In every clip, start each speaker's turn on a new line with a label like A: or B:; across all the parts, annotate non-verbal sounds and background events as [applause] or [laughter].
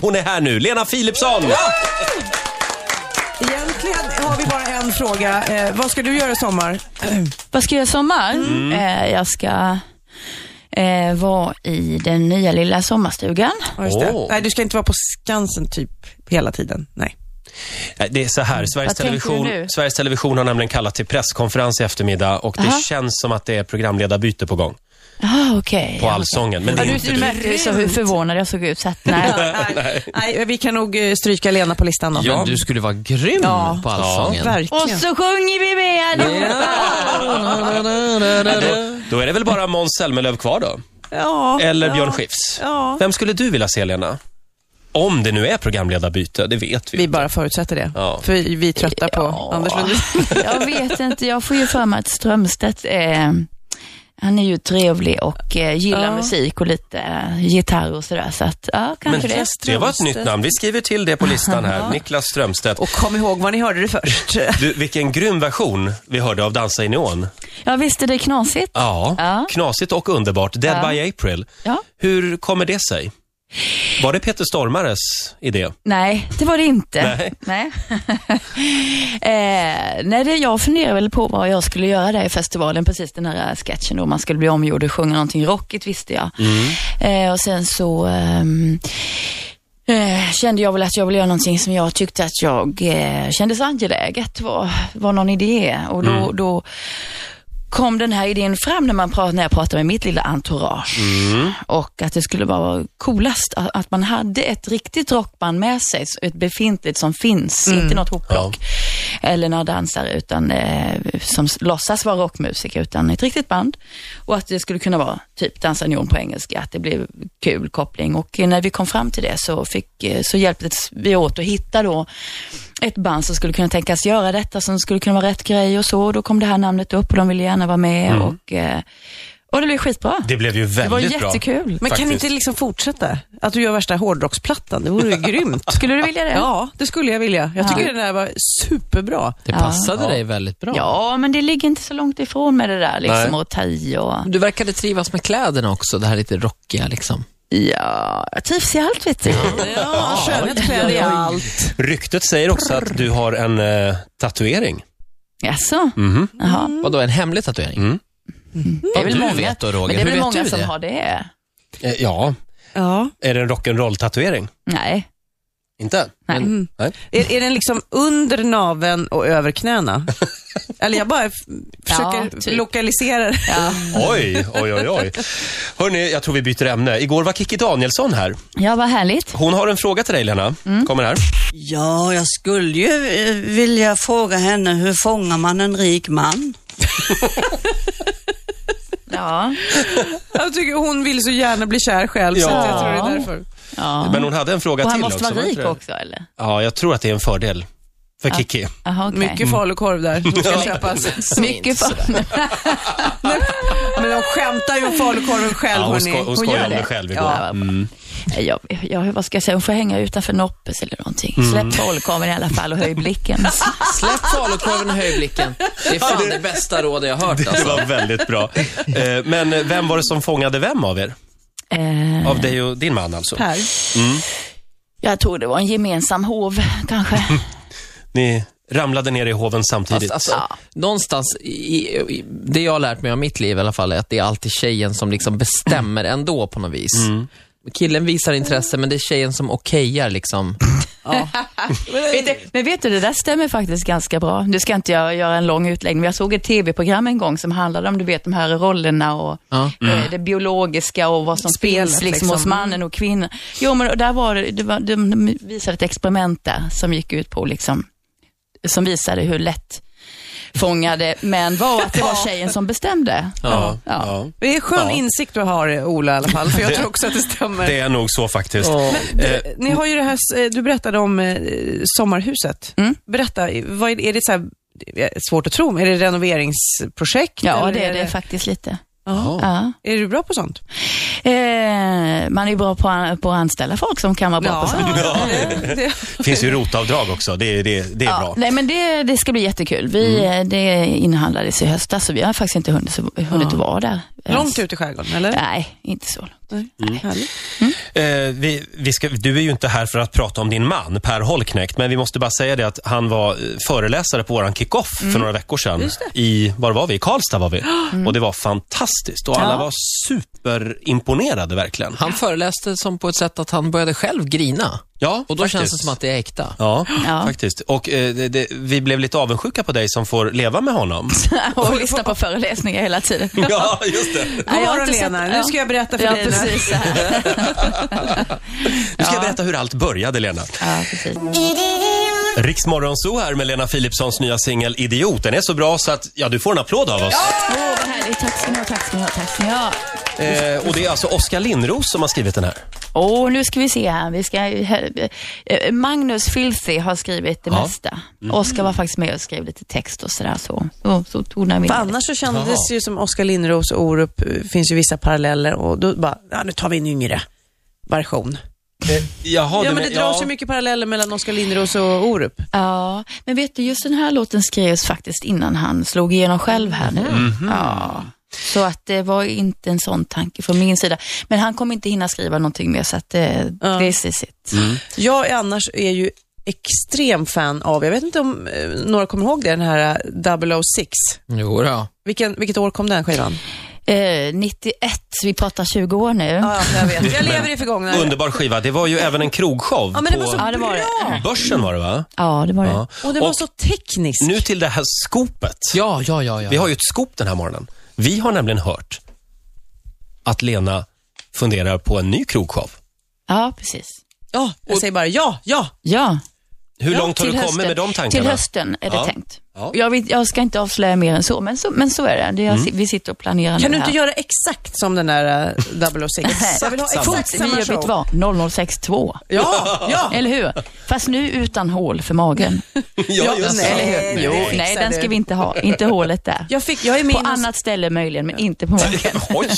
A: Hon är här nu, Lena Philipsson!
B: Egentligen har vi bara en fråga. Eh, vad ska du göra i sommar?
C: Vad ska jag göra i sommar?
A: Mm.
C: Eh, jag ska eh, vara i den nya lilla sommarstugan.
B: Ja, just det.
A: Åh.
B: Nej, du ska inte vara på Skansen typ hela tiden.
A: [laughs]
B: Nej.
A: Nej, Eh, Det är så här, Sveriges
C: Mm. Vad tänker
A: Television,
C: du nu?
A: Sveriges Television har nämligen kallat till presskonferens i eftermiddag och det
C: Aha.
A: känns som att det är programledarbyte på gång
C: Ah, okej.
A: på Allsången. Men det
C: Ja,
A: är
C: du,
A: inte
C: du
A: du.
C: märkte ju så hur förvånad jag såg ut. Så att,
A: [laughs]
C: nej.
B: Nej. Nej, vi kan nog eh, stryka Lena på listan då.
D: Men du skulle vara grym
B: Ja.
D: på Allsången.
C: Och
B: Verkligen.
C: så sjunger vi med!
A: Då är det väl bara Måns Zelmerlöw kvar då?
B: Ja.
A: Eller Björn
B: ja.
A: Skifs?
B: Ja.
A: Vem skulle du vilja se, Lena? Om det nu är programledarbyte, det vet vi.
B: Vi bara förutsätter det.
A: Ja.
B: För vi vi är trötta på Anders Lundin.
C: Jag vet inte, jag får ju för mig att Strömstedt eh, han är ju trevlig och eh, gillar
B: Ja.
C: musik och lite eh, gitarr och sådär. Så att, ja,
A: Men
C: kanske det.
A: det var ett nytt namn. Vi skriver till det på listan
C: [laughs]
A: här. Niklas Strömstedt.
B: Och kom ihåg var ni hörde det
A: [laughs]
B: först.
A: Du, vilken grym version vi hörde av Dansa i neon.
C: Ja, visst är det knasigt?
A: Ja,
C: Ja.
A: knasigt och underbart. Dead
C: Ja.
A: by April.
C: Ja.
A: Hur kommer det sig? Var det Peter Stormares idé?
C: Nej, det var det inte.
A: Nej.
C: Nej. [laughs] eh, nej det, jag funderar väl på vad jag skulle göra där i festivalen, precis den här sketchen då man skulle bli omgjord och sjunga någonting rockigt visste jag. Eh, och sen så ehm, eh, kände jag väl att jag ville göra någonting som jag tyckte att jag eh, kändes angeläget var, var någon idé och då, då kom den här idén fram när, man prat, när jag pratade med mitt lilla entourage. Och att det skulle bara vara coolast att, att man hade ett riktigt rockband med sig, så ett befintligt som finns, inte något hopplock eller några dansare utan, eh, som s- låtsas vara rockmusiker, utan ett riktigt band. Och att det skulle kunna vara typ Dansa neon på engelska, att det blev kul koppling. Och eh, när vi kom fram till det så, fick, eh, så hjälptes vi åt att hitta då ett band som skulle kunna tänkas göra detta, som skulle kunna vara rätt grej och så. Då kom det här namnet upp och de ville gärna vara med och, eh, och det blev skitbra.
A: Mm. Det blev ju
C: Det var
A: väldigt bra.
C: jättekul.
B: Men kan ni
A: Faktiskt.
B: inte liksom fortsätta? Att du gör värsta hårdrocksplattan, det
A: [laughs]
B: vore ju grymt.
C: Skulle du vilja det?
B: Ja, det skulle jag vilja. Jag tycker den där var superbra.
D: Det passade dig väldigt bra.
C: Ja, men det ligger inte så långt ifrån med det där liksom
A: Nej.
C: och ta i och...
D: Du verkade trivas med kläderna också, det här lite rockiga liksom.
C: Ja, jag trivs i allt vet du.
B: Ja, skönhetskläder i allt.
A: Ryktet säger också att du har en eh, tatuering.
C: Jaså?
A: Mhm.
C: Jaha.
D: Vadå, en hemlig tatuering?
A: [laughs] Mm.
C: Det är väl
D: du
C: många,
D: vet då, Roger.
C: men det är
D: Hur
C: väl
D: vet
C: många
D: du
C: som
D: det?
C: har det?
A: Eh, ja,
B: Ja.
A: är det en rock'n'roll-tatuering?
C: Nej.
A: Inte?
C: Nej.
B: Mm.
A: Nej.
B: Är, är den liksom under naveln och över knäna? Eller jag bara f- försöker
C: Ja, typ.
B: lokalisera det.
C: Ja.
A: Oj, oj, oj, oj. Hörni, jag tror vi byter ämne. Igår var Kikki Danielsson här.
C: ja, vad härligt.
A: Hon har en fråga till dig, Lena.
C: Mm.
A: Kommer här.
E: Ja, jag skulle ju eh, vilja fråga henne hur fångar man en rik man?
C: Ja.
B: Jag tycker hon vill så gärna bli kär själv, så
A: Ja.
B: att jag tror det är därför.
C: ja.
A: Men hon hade en fråga
C: och han
A: till
C: måste
A: också.
C: vara
A: inte
C: rik
A: det?
C: också eller?
A: Ja, jag tror att det är en fördel för Kikki.
C: Jaha, okej.
B: Mycket falukorv där som ska köpas.
C: Mycket för... [laughs]
B: Men de skämtar ju om falukorven själv,
A: Ja, hon,
B: hörni.
A: sko- hon
C: Hon
A: skojade
C: gör
A: om det
C: det.
A: själv igår.
C: Ja, jag, jag, vad ska jag säga, hon får hänga utanför Noppes eller någonting. Släpp trollkarlen i alla fall och höj blicken.
D: Släpp falukorven och höj blicken. Det är fan det bästa rådet jag har hört
A: [laughs] Det [laughs]
D: alltså.
A: var väldigt bra. Eh, Men vem var det som fångade vem av er?
C: Eh,
A: Av dig och din man alltså?
B: Per.
C: jag tror det var en gemensam hov kanske.
A: Ni ramlade ner i hoven samtidigt.
D: Fast, alltså, någonstans, i, i, det jag har lärt mig av mitt liv i alla fall, är att det är alltid tjejen som liksom bestämmer
A: Mm.
D: ändå på något vis. Killen visar intresse, men det är tjejen som okejar liksom.
C: Vet du, men vet du, det där stämmer faktiskt ganska bra. Nu ska inte jag göra en lång utläggning, men jag såg ett tv-program en gång som handlade om, du vet, de här rollerna och
D: Ja.
C: eh, det biologiska och vad som
B: Spelet,
C: finns liksom,
B: liksom.
C: hos mannen och kvinnan. Jo, men och där var det, det var, de visade ett experiment där som gick ut på, liksom, som visade hur lätt fångade män var och att
B: [laughs]
C: det var tjejen som bestämde.
A: Ja,
C: Ja.
A: ja.
B: Det är skön
A: Ja.
B: insikt du har, Ola, i alla fall, för jag tror också att det stämmer.
A: Det är nog så faktiskt.
B: Ni har ju det här, eh, du berättade om eh, sommarhuset. Berätta, eh, vad är, är det så här, det är svårt att tro, men är det renoveringsprojekt?
C: Ja,
B: eller
C: det är det faktiskt lite.
B: Ja.
C: Ja.
B: Är du bra på sånt?
C: Eh, man är ju bra på, på att anställa folk som kan vara bra på sånt.
B: Det, det,
A: Det finns ju rotavdrag också. Det, det, det är bra.
C: Nej, men det,
B: Mm.
C: det ska bli jättekul. Vi, eh, Det inhandlades i höstas, så vi har faktiskt inte hunnit, så, hunnit vara där.
B: Långt ut i skärgården, eller?
C: Nej, inte så långt.
B: Nej. Härligt.
A: Eh, vi, vi ska, du är ju inte här för att prata om din man, Per Holknekt, men vi måste bara säga det att han var eh, föreläsare på våran kick-off
D: Mm.
A: för några veckor sedan. I, var var vi? I Karlstad var vi. Och det var fantastiskt och alla
C: Ja.
A: var superimponerade verkligen.
D: Han föreläste som på ett sätt att han började själv grina.
A: Ja,
D: Och då
A: faktiskt.
D: känns det som att det är äkta.
A: Ja,
C: Ja.
A: faktiskt. Och eh, det, det, vi blev lite avundsjuka på dig som får leva med
D: [laughs]
A: honom.
C: [laughs] och lyssna på föreläsningar hela tiden. [laughs]
A: ja, just det.
C: Nej,
B: God
C: jag har
B: morgon
C: inte sett-
B: Lena,
C: ja.
B: nu ska jag berätta för
C: Ja,
B: dig. när-
C: precis. Så här.
A: Nu ska jag berätta hur allt började, Lena.
B: [laughs]
C: Ja, precis.
A: Riksmorgonzoo här med Lena Philipssons nya singel Idiot. Den är så bra så att, ja, du får en applåd av oss.
C: Åh, vad härligt. Tack ska ni ha, tack ska ni ha, tack ska ni ha.
A: Eh, och det är alltså Oskar Lindros som har skrivit den här.
C: Åh, nu ska vi se här. Vi ska, eh, Magnus Filthy har skrivit det
A: Ja.
C: mesta.
B: Mm.
C: Oskar var faktiskt med och skrev lite text och sådär. Så, så, så tonade vi
B: För
C: ner.
B: annars så kändes det ju som Oskar Lindros och Orup, eh, finns ju vissa paralleller och då bara, ja, nu tar vi en yngre version.
A: Jaha,
B: Ja, Eh, men det dras ju mycket paralleller mellan Oskar Lindros och Orup.
C: Ja, men vet du, just den här låten skrevs faktiskt innan han slog igenom själv här nu.
A: Mhm.
C: Ja. Så att det var inte en sån tanke från min sida. Men han kommer inte hinna skriva någonting mer, så att eh, this is it.
A: Mm.
B: Jag är annars är ju extrem fan av, jag vet inte om eh, några kommer ihåg det, den här eh, 006.
D: Jo då.
B: Vilken, vilket år kom den skivan?
C: Eh, 91, vi pratar 20 år nu.
B: Ja, jag vet. Jag lever i förgångna.
A: Underbar skiva. Det var ju även en krogshow
B: Ja, men det var
A: på
B: så
C: Ja, det var det.
B: bra.
A: Börsen var det va?
C: Ja, det var det.
A: Ja.
B: Och det var så tekniskt.
A: Nu till det här skopet.
D: Ja, ja, ja. ja.
A: Vi har ju ett skop den här morgonen. Vi har nämligen hört att Lena funderar på en ny krogshow.
C: Ja, precis.
B: Ja, jag säger bara ja, ja.
C: Ja,
A: Hur
C: ja,
A: långt har du
C: till
A: kommit
C: hösten.
A: med de tankarna?
C: Till hösten är det
A: Ja.
C: tänkt.
A: Ja.
C: Jag, vet, jag ska inte avslöja mer än så, men så, men så är det. det är,
A: Mm.
C: Vi sitter och planerar
B: Kan du
C: nu
B: inte
C: här.
B: göra exakt som den där eh,
C: [laughs]
B: 006? Jag vill ha exakt
C: Vi
B: samma
C: gör, vet du
B: show.
C: vad? 0062.
B: Ja, ja.
C: [laughs] Eller hur? Fast nu utan hål för [laughs] magen.
A: [laughs] ja, just det.
B: nej.
C: Eller hur?
A: [laughs]
B: Jo,
C: Nej,
B: fixar
C: den
B: du.
C: ska vi inte ha. Inte hålet där.
B: Jag, fick, jag är med
C: På
B: i någon,
C: annat ställe möjligen, men inte på magen.
A: [laughs] Oj!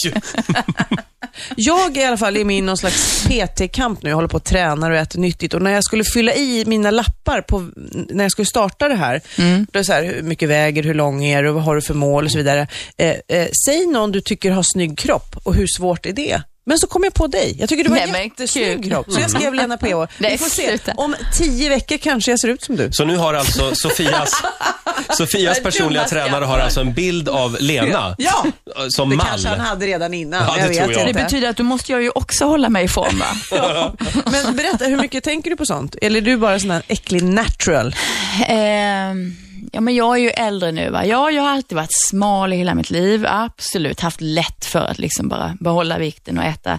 B: jag i alla fall är med i någon slags PT-kamp nu. Jag håller på och tränar och äter nyttigt. Och när jag skulle fylla i mina lappar på, när jag skulle starta det här.
C: Mm.
B: Då är det så här, hur mycket väger, hur lång är du, vad har du för mål och så vidare. Eh, eh, säg någon du tycker har snygg kropp och hur svårt är det? Men så kom jag på dig. Jag tycker du har
C: Nej, men
B: jättesnygg
C: kul.
B: kropp. Så jag skrev Lena PH. Vi
C: Nej,
B: får se.
C: sluta.
B: Om tio veckor kanske jag ser ut som du.
A: Så nu har alltså Sofias,
B: [laughs]
A: Sofias personliga
B: dumma
A: tränare har alltså en bild av Lena
B: Ja.
A: eh, som
B: Det
A: mall.
B: kanske han hade redan innan.
A: Ja, det
B: jag vet
A: tror jag.
C: [laughs] Det
B: Inte.
C: betyder att då måste jag ju också hålla mig i form, va?
B: Men berätta, hur mycket tänker du på sånt? Eller är du bara sån här äcklig natural?
C: [laughs] Ehm, ja, men jag är ju äldre nu. Va? Ja, jag har alltid varit smal i hela mitt liv. Absolut haft lätt för att liksom bara behålla vikten och äta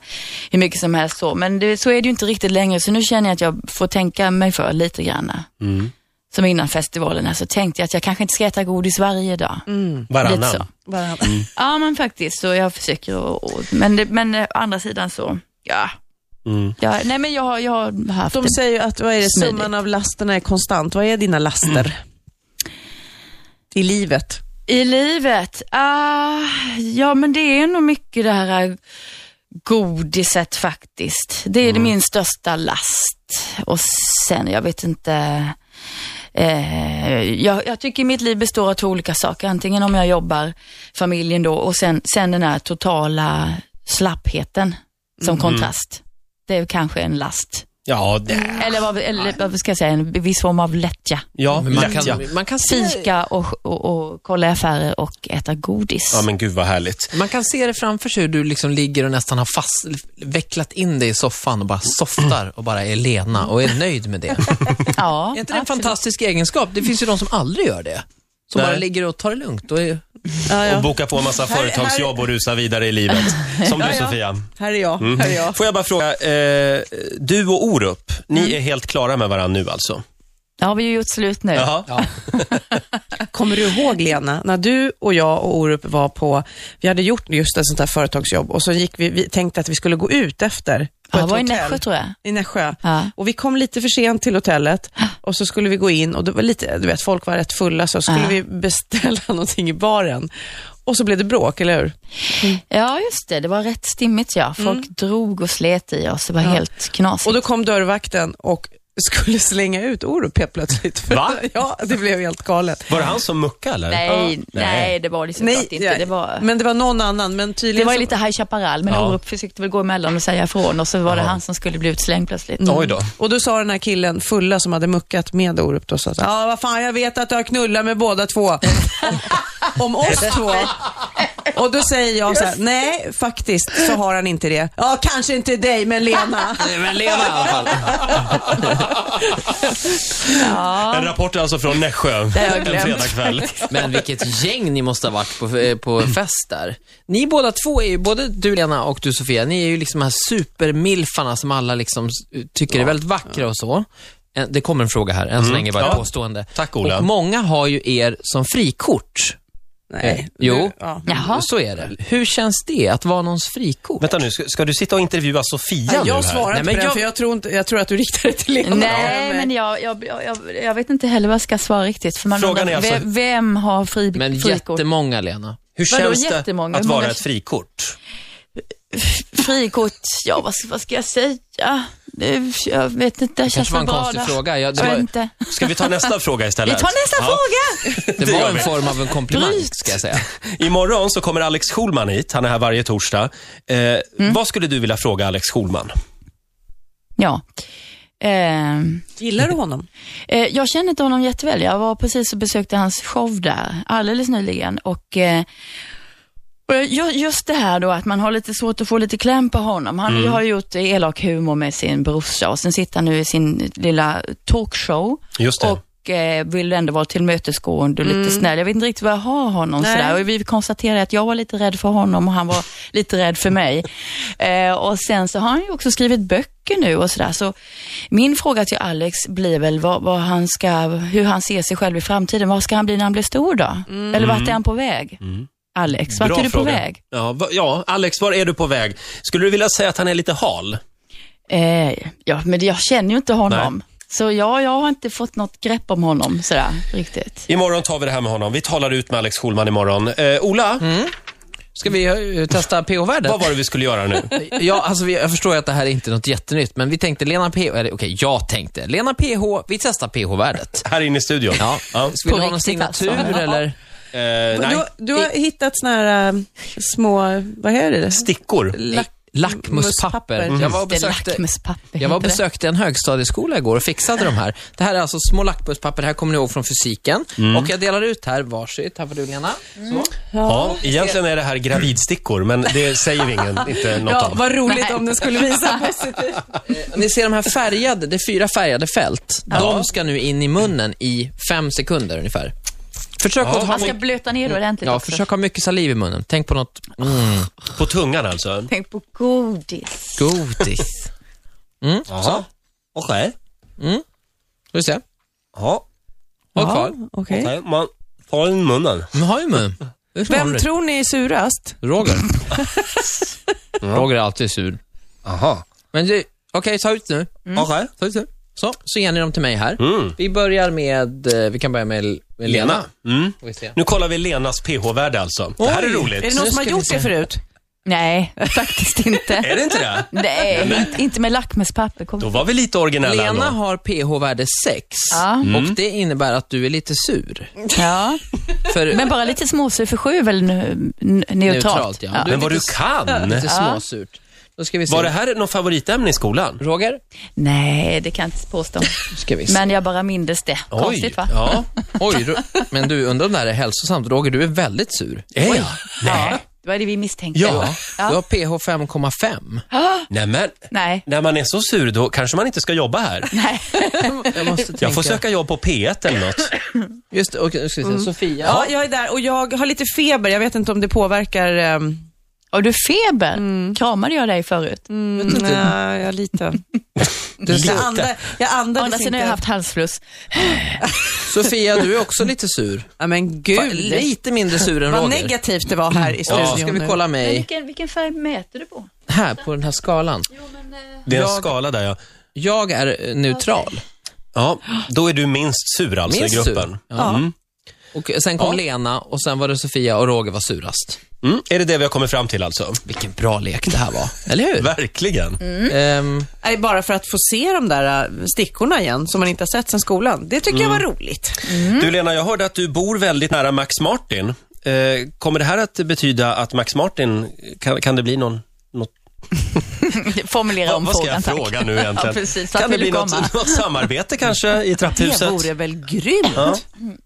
C: hur mycket som helst. Så. Men det, så är det ju inte riktigt längre, så nu känner jag att jag får tänka mig för lite grann. Mm. Som innan festivalen här, så tänkte jag att jag kanske inte ska äta godis varje dag. Lite så. Mm.
A: Varannan.
B: Bara-
C: [laughs] Ja, men faktiskt. Så jag försöker att... och- Men, det, men eh, å andra sidan så, ja.
A: Mm.
C: ja nej, men jag, har- jag har haft...
B: De säger ju att vad är det,
C: Smidigt.
B: summan av lasterna är konstant. Vad är dina laster? Mm. I livet.
C: I livet? Ah, ja, men det är nog mycket det här äh, godiset faktiskt. Det
A: Mm.
C: är min största last. Och sen, jag vet inte. Eh, jag, jag tycker mitt liv består av två olika saker. Antingen om jag jobbar, familjen då, och sen, sen den här totala slappheten som
A: Mm.
C: kontrast. Det är kanske en last.
A: Ja,
B: Mm.
A: det,
C: Eller, vad, eller vad ska jag säga, en viss form av lättja.
A: ja,
D: Men man,
A: lätt, ja.
D: kan, man, kan se,
C: Fika och, och, och kolla i affärer och äta godis.
A: ja, men gud vad härligt.
D: man kan se det framför sig hur du liksom ligger och nästan har fast, vecklat in dig i soffan och bara softar och bara är Lena och [laughs] är nöjd med det.
C: Ja,
D: Är inte det en
C: absolut.
D: fantastisk egenskap? Det finns ju de som aldrig gör det. Som
A: Nej.
D: bara ligger och tar det lugnt. Och är...
A: Och boka på en massa företagsjobb och rusa vidare i
B: [laughs]
A: livet. Som du Sofia.
B: Här är jag.
A: Mm.
B: Här är jag.
A: Får jag bara fråga, eh, du och Orup, ni
B: Mm.
A: är helt klara med varandra nu alltså?
C: Det har vi ju gjort slut nu.
A: Jaha.
B: [laughs] Kommer du ihåg Lena, när du och jag och Orup var på, vi hade gjort just ett sånt här företagsjobb och så gick vi, vi tänkte att vi skulle gå ut efter. På
C: Ja, det
B: ett
C: var i
B: hotell.
C: Nässjö tror jag.
B: i Nässjö.
C: Ja.
B: Och vi kom lite för sent till hotellet och så skulle vi gå in och det var lite, du vet, folk var rätt fulla så skulle
C: Ja.
B: vi beställa [laughs] någonting i baren. Och så blev det bråk, eller hur?
C: Ja, just det. Det var rätt stimmigt ja. Folk drog och slet i oss. Det var helt knasigt.
B: Och då kom dörrvakten och skulle slänga ut Orup helt plötsligt. För-
A: Va?
B: [laughs] Ja, det blev helt galet.
A: Var det han som muckade eller?
C: Nej,
A: nej.
C: nej, det var det såklart inte.
B: ja,
C: Det var...
B: Men liksom- det var någon annan, men
C: Det
B: tydligen...
C: var ju
B: så-
C: lite High Chaparral, men
A: Ja.
C: Orup försökte väl gå emellan och säga ifrån och så var det han som skulle bli utslängd plötsligt.
A: Oj då.
B: Och då sa den här killen, fulla, som hade muckat med Orup då, så att, ja vad fan, jag vet att du har knullat med båda två. [laughs] Om- Om oss två. Och då säger jag så här, nej faktiskt så har han inte det. Ja, kanske inte dig, men Lena.
D: Men Lena i alla fall.
A: En rapport alltså från Nässjö en
C: jag glömt.
A: fredagkväll.
D: Men vilket gäng ni måste ha varit på, eh, på fest där. Ni båda två är ju, både du Lena och du Sofia, ni är ju liksom de här supermilfarna som alla liksom s- tycker är väldigt vackra och så. En- Det kommer en fråga här, än så länge bara ett
A: Mm. Ja.
D: påstående.
A: Tack, Ola.
D: Och många har ju er som frikort. Eh,
B: Nej.
D: Jo.
B: Ja.
C: Jaha.
D: Så är det. Hur känns det att vara någons frikort?
A: Vänta nu, ska, ska du sitta och intervjua Sofia
B: Nej,
A: nu här?
B: jag svarar
D: Nej,
B: inte
D: men
B: på den,
D: jag-
B: för jag tror, inte, jag tror att du riktar det till Lena.
C: Nej, men jag, jag, jag, jag, jag vet inte heller vad jag ska svara riktigt. För man
A: Frågan
C: undrar,
A: är alltså-
C: vem, vem har fri,
D: Men
C: frikort?
D: jättemånga Lena.
A: Hur
C: Vadå,
A: känns det
C: jättemånga?
A: att
C: Hur
A: vara
C: många-
A: ett frikort?
C: Frikort, ja vad, ska- vad ska jag säga? Det, jag vet inte, det känns
D: kanske var en
C: väl bra
D: konstig
C: där.
D: fråga. Jag, det,
C: Jag vet
D: var,
C: inte.
A: Ska vi ta
C: [laughs]
A: nästa fråga
C: Vi
A: istället?
C: tar nästa
A: Ja.
C: fråga!
D: det
A: gör
D: var en
A: vi.
D: form av en komplimang,
C: Bryt.
D: ska jag säga.
A: Imorgon så kommer Alex Schulman hit. Han är här varje torsdag. Eh,
C: Mm.
A: Vad skulle du vilja fråga Alex Schulman?
C: Ja. Ehm,
B: Gillar du honom?
C: Eh, jag känner inte honom jätteväl. Jag var precis och besökte hans show där alldeles nyligen och eh, och ju- Just det här då att man har lite svårt att få lite kläm på honom. Han har ju gjort elak humor med sin brorsa och sen sitter han nu i sin lilla talkshow
A: Just det.
C: och eh, vill ändå vara tillmötesgående och lite snäll. Jag vet inte riktigt vad jag har honom
B: Nej.
C: sådär. Och vi konstaterade att jag var lite rädd för honom och han var lite rädd för mig. Eh, och sen så har han ju också skrivit böcker nu och sådär. Så min fråga till Alex blir väl vad, vad han ska, hur han ser sig själv i framtiden. Vad ska han bli när han blir stor då? Eller vart är han på väg? Alex, vart
A: Bra
C: är du
A: fråga.
C: på väg?
A: Ja, va, ja, Alex, var är du på väg? Skulle du vilja säga att han är lite hal?
C: Eh, ja, men jag känner ju inte honom. Så jag, jag har inte fått något grepp om honom sådär riktigt.
A: Imorgon tar vi det här med honom. Vi talar ut med Alex Schulman imorgon. Eh, Ola,
D: Ska vi eh,
A: [laughs]
D: testa PH-värdet?
A: vad var det vi skulle göra [laughs] nu?
D: [laughs] Ja, alltså vi, jag förstår ju att det här är inte något jättenytt, men vi tänkte Lena PH, eller okej, jag tänkte Lena PH, vi testar PH-värdet.
A: här inne i studion.
D: Ja.
A: Ja.
D: Vill du ha någon
C: riktigt alltså.
D: signatur eller?
A: Eh, nej,
B: Du, du har hittat såna här äh, små, vad är det?
A: stickor.
B: Lack-
D: Eh, Lackmuspapper.
B: Mm.
D: Jag var och
C: Det är
D: besökte,
C: lackmuspapper,
D: jag var och
C: heter det.
D: besökte en högstadieskola igår och fixade de här. Det här är alltså små lackmuspapper, det här kommer ni ihåg från fysiken. Och jag delar ut här varsitt, här får du Lena. Så.
A: Ja, egentligen är det här gravidstickor, men det säger ingen inte något
B: Ja,
A: om.
B: vad roligt om den skulle visa positivt.
D: Och Ni ser de här färgade, det är fyra färgade fält. De ska nu in i munnen i fem sekunder ungefär. Försök att ha
C: Man ska blöta ner det ordentligt
D: Ja,
C: också.
D: försök ha mycket saliv i munnen. Tänk på något
A: På tungan alltså.
C: Tänk på godis.
D: godis.
A: Jaha. Okej.
D: Ska vi se?
A: Ja,
D: Håll kvar.
B: okej.
A: okej. Man tar den i munnen.
D: Men har ju mun. Det är som
B: Vem
D: vanligt.
B: tror ni är surast?
D: Roger. Roger är alltid sur.
A: Jaha.
D: Men det- okej, ta ut nu.
A: Mm. Okej.
D: Ta ut nu. Så, så ger ni dem till mig här.
A: Mm.
D: Vi börjar med, eh, vi kan börja med, med Lena.
A: Lena. Mm.
D: Får vi se.
A: Nu kollar vi Lenas pH-värde alltså. det här är
D: Oj.
A: roligt.
B: Är det någon
D: Nu
B: som har
D: ska vi
B: gjort
D: se.
B: det förut?
C: Nej, faktiskt
A: [laughs]
C: inte.
A: Är det inte det?
C: Nej, inte, inte med lackmuspapper. Kom.
A: Då var vi lite originella
D: Lena
A: ändå.
D: har pH-värde 6
C: Ja.
D: och det innebär att du är lite sur.
C: Ja.
D: För
C: Men bara lite småsur för sju är väl n- n- neutralt?
D: Neutralt, ja.
A: Men vad du
D: lite-
A: kan!
D: lite småsurt. Då ska vi se.
A: Var det här någon favoritämne i skolan?
D: Roger?
C: Nej, det kan jag inte
A: [laughs]
C: påstå.
D: Ska vi se.
C: Men jag bara mindes det. Konstigt va?
A: Ja.
D: Oj, Ro- men du undrar om det här är hälsosamt. Roger, du är väldigt sur.
A: Är jag?
C: Ja, det var det vi misstänkte.
A: Ja.
D: Du har pH 5,5.
A: Nej, men
C: Nej.
A: när man är så sur då kanske man inte ska jobba här.
C: Nej. [laughs]
D: Jag måste
A: Jag får
D: tänka.
A: söka jobb på P1 eller något.
D: Just det, okej, nu ska vi se.
B: Mm.
D: Sofia.
B: Ja, jag är där och jag har lite feber. Jag vet inte om det påverkar... ehm,
C: Och du feber? Kramade jag dig förut?
B: nej, jag eh, lite.
A: Lite.
B: Jag, andar, jag
C: Å
B: andades
C: andra sidan
B: inte.
C: har jag haft halsfluss.
D: Sofia, du är också lite sur.
B: Ja, men
D: Fan,
B: gud.
D: lite mindre sur än
B: Vad
D: Roger.
B: negativt det var här i studion
D: Ja, ska vi
B: nu.
D: kolla mig
C: Vilken, vilken färg mäter du på?
D: här på den här skalan.
A: Det är en
D: Jag-
A: skala där ja.
D: Jag är eh, neutral.
A: Ja, då är du minst sur alltså
D: Minst
A: i gruppen.
D: sur. Ja. Och sen kom Lena och sen var det Sofia och Roger var surast.
A: Mm, är det det vi har kommit fram till alltså?
D: Vilken bra lek det här var, eller hur?
A: Verkligen.
D: Ehm,
B: Nej, bara för att få se de där äh, stickorna igen som man inte har sett sedan skolan. Det tycker jag var roligt.
A: Du Lena, jag hörde att du bor väldigt nära Max Martin. Eh, kommer det här att betyda att Max Martin, kan, kan det bli någon, något
C: Formulera om
A: vad ska
C: frågan,
A: jag fråga
C: tack. [laughs]
A: nu egentligen?
C: ja, precis. Vart
A: kan det
C: vill
A: bli
C: du komma?
A: något, något samarbete kanske i
B: Det
A: trapphuset?
B: vore väl grymt?
A: Ja.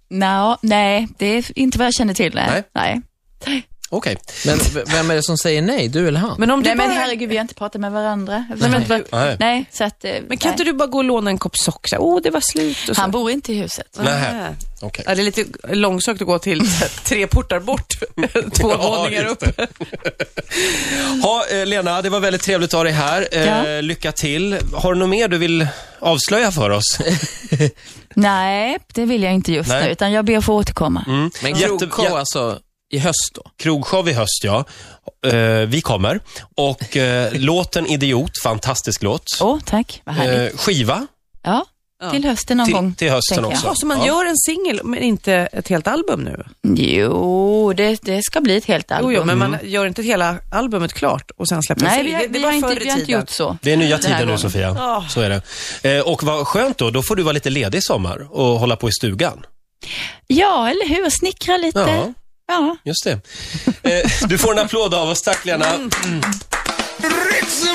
C: Nå, nej, det är inte vad jag känner till.
D: Nej.
C: Nej. nej.
D: Okej, men v- vem är det som säger nej? Du eller han?
B: Men, om
C: Nej
B: du
C: men
B: bara...
C: herregud, vi har inte pratat med varandra. Nej, men,
A: Nej.
C: nej så att... eh,
B: men kan
C: nej.
B: inte du bara gå och låna en kopp socker? Så här, Åh, det var slut och så.
C: Han bor inte i huset.
A: Nej. Okej.
B: Ja, det är lite långsökt att gå till tre portar bort, två
A: Ja,
B: våningar
A: just
B: upp.
A: det. Ha, eh, Lena, det var väldigt trevligt att ha dig här. Eh,
C: Ja.
A: Lycka till. Har du något mer du vill avslöja för oss? [laughs]
C: Nej, det vill jag inte just
A: Nej.
C: nu, utan jag ber att få återkomma.
A: Mm.
D: Men
A: Jätte-
D: Krogshow
A: jä-
D: alltså, i höst då?
A: Krogshow i höst, ja. Eh, vi kommer. Och eh, låten Idiot, fantastisk låt.
C: Åh, tack. Vad härligt.
A: Eh, skiva
C: ja, till hösten någon gång.
A: till, till hösten
C: tänker jag.
A: också.
B: Ja, så man
A: Ja.
B: gör en singel, men inte ett helt album nu?
C: Jo, det, det ska bli ett helt album. Mm.
B: Jo, jo, men man gör inte hela albumet klart och sen släpper en
C: Nej, vi,
B: singel. Det-
C: har-
B: det
C: vi,
B: var
C: har inte,
B: förr i
C: vi har inte
B: tiden.
C: gjort så.
A: Det är nya
C: Den här
A: tider nu
C: gången.
A: Sofia, så är det. Eh, och vad skönt då, då får du vara lite ledig i sommar och hålla på i stugan.
C: Ja, eller hur? Snickra lite.
A: Ja.
C: Ja.
A: Just det. Eh, du får en applåd av oss, tack Lena.
F: Ritz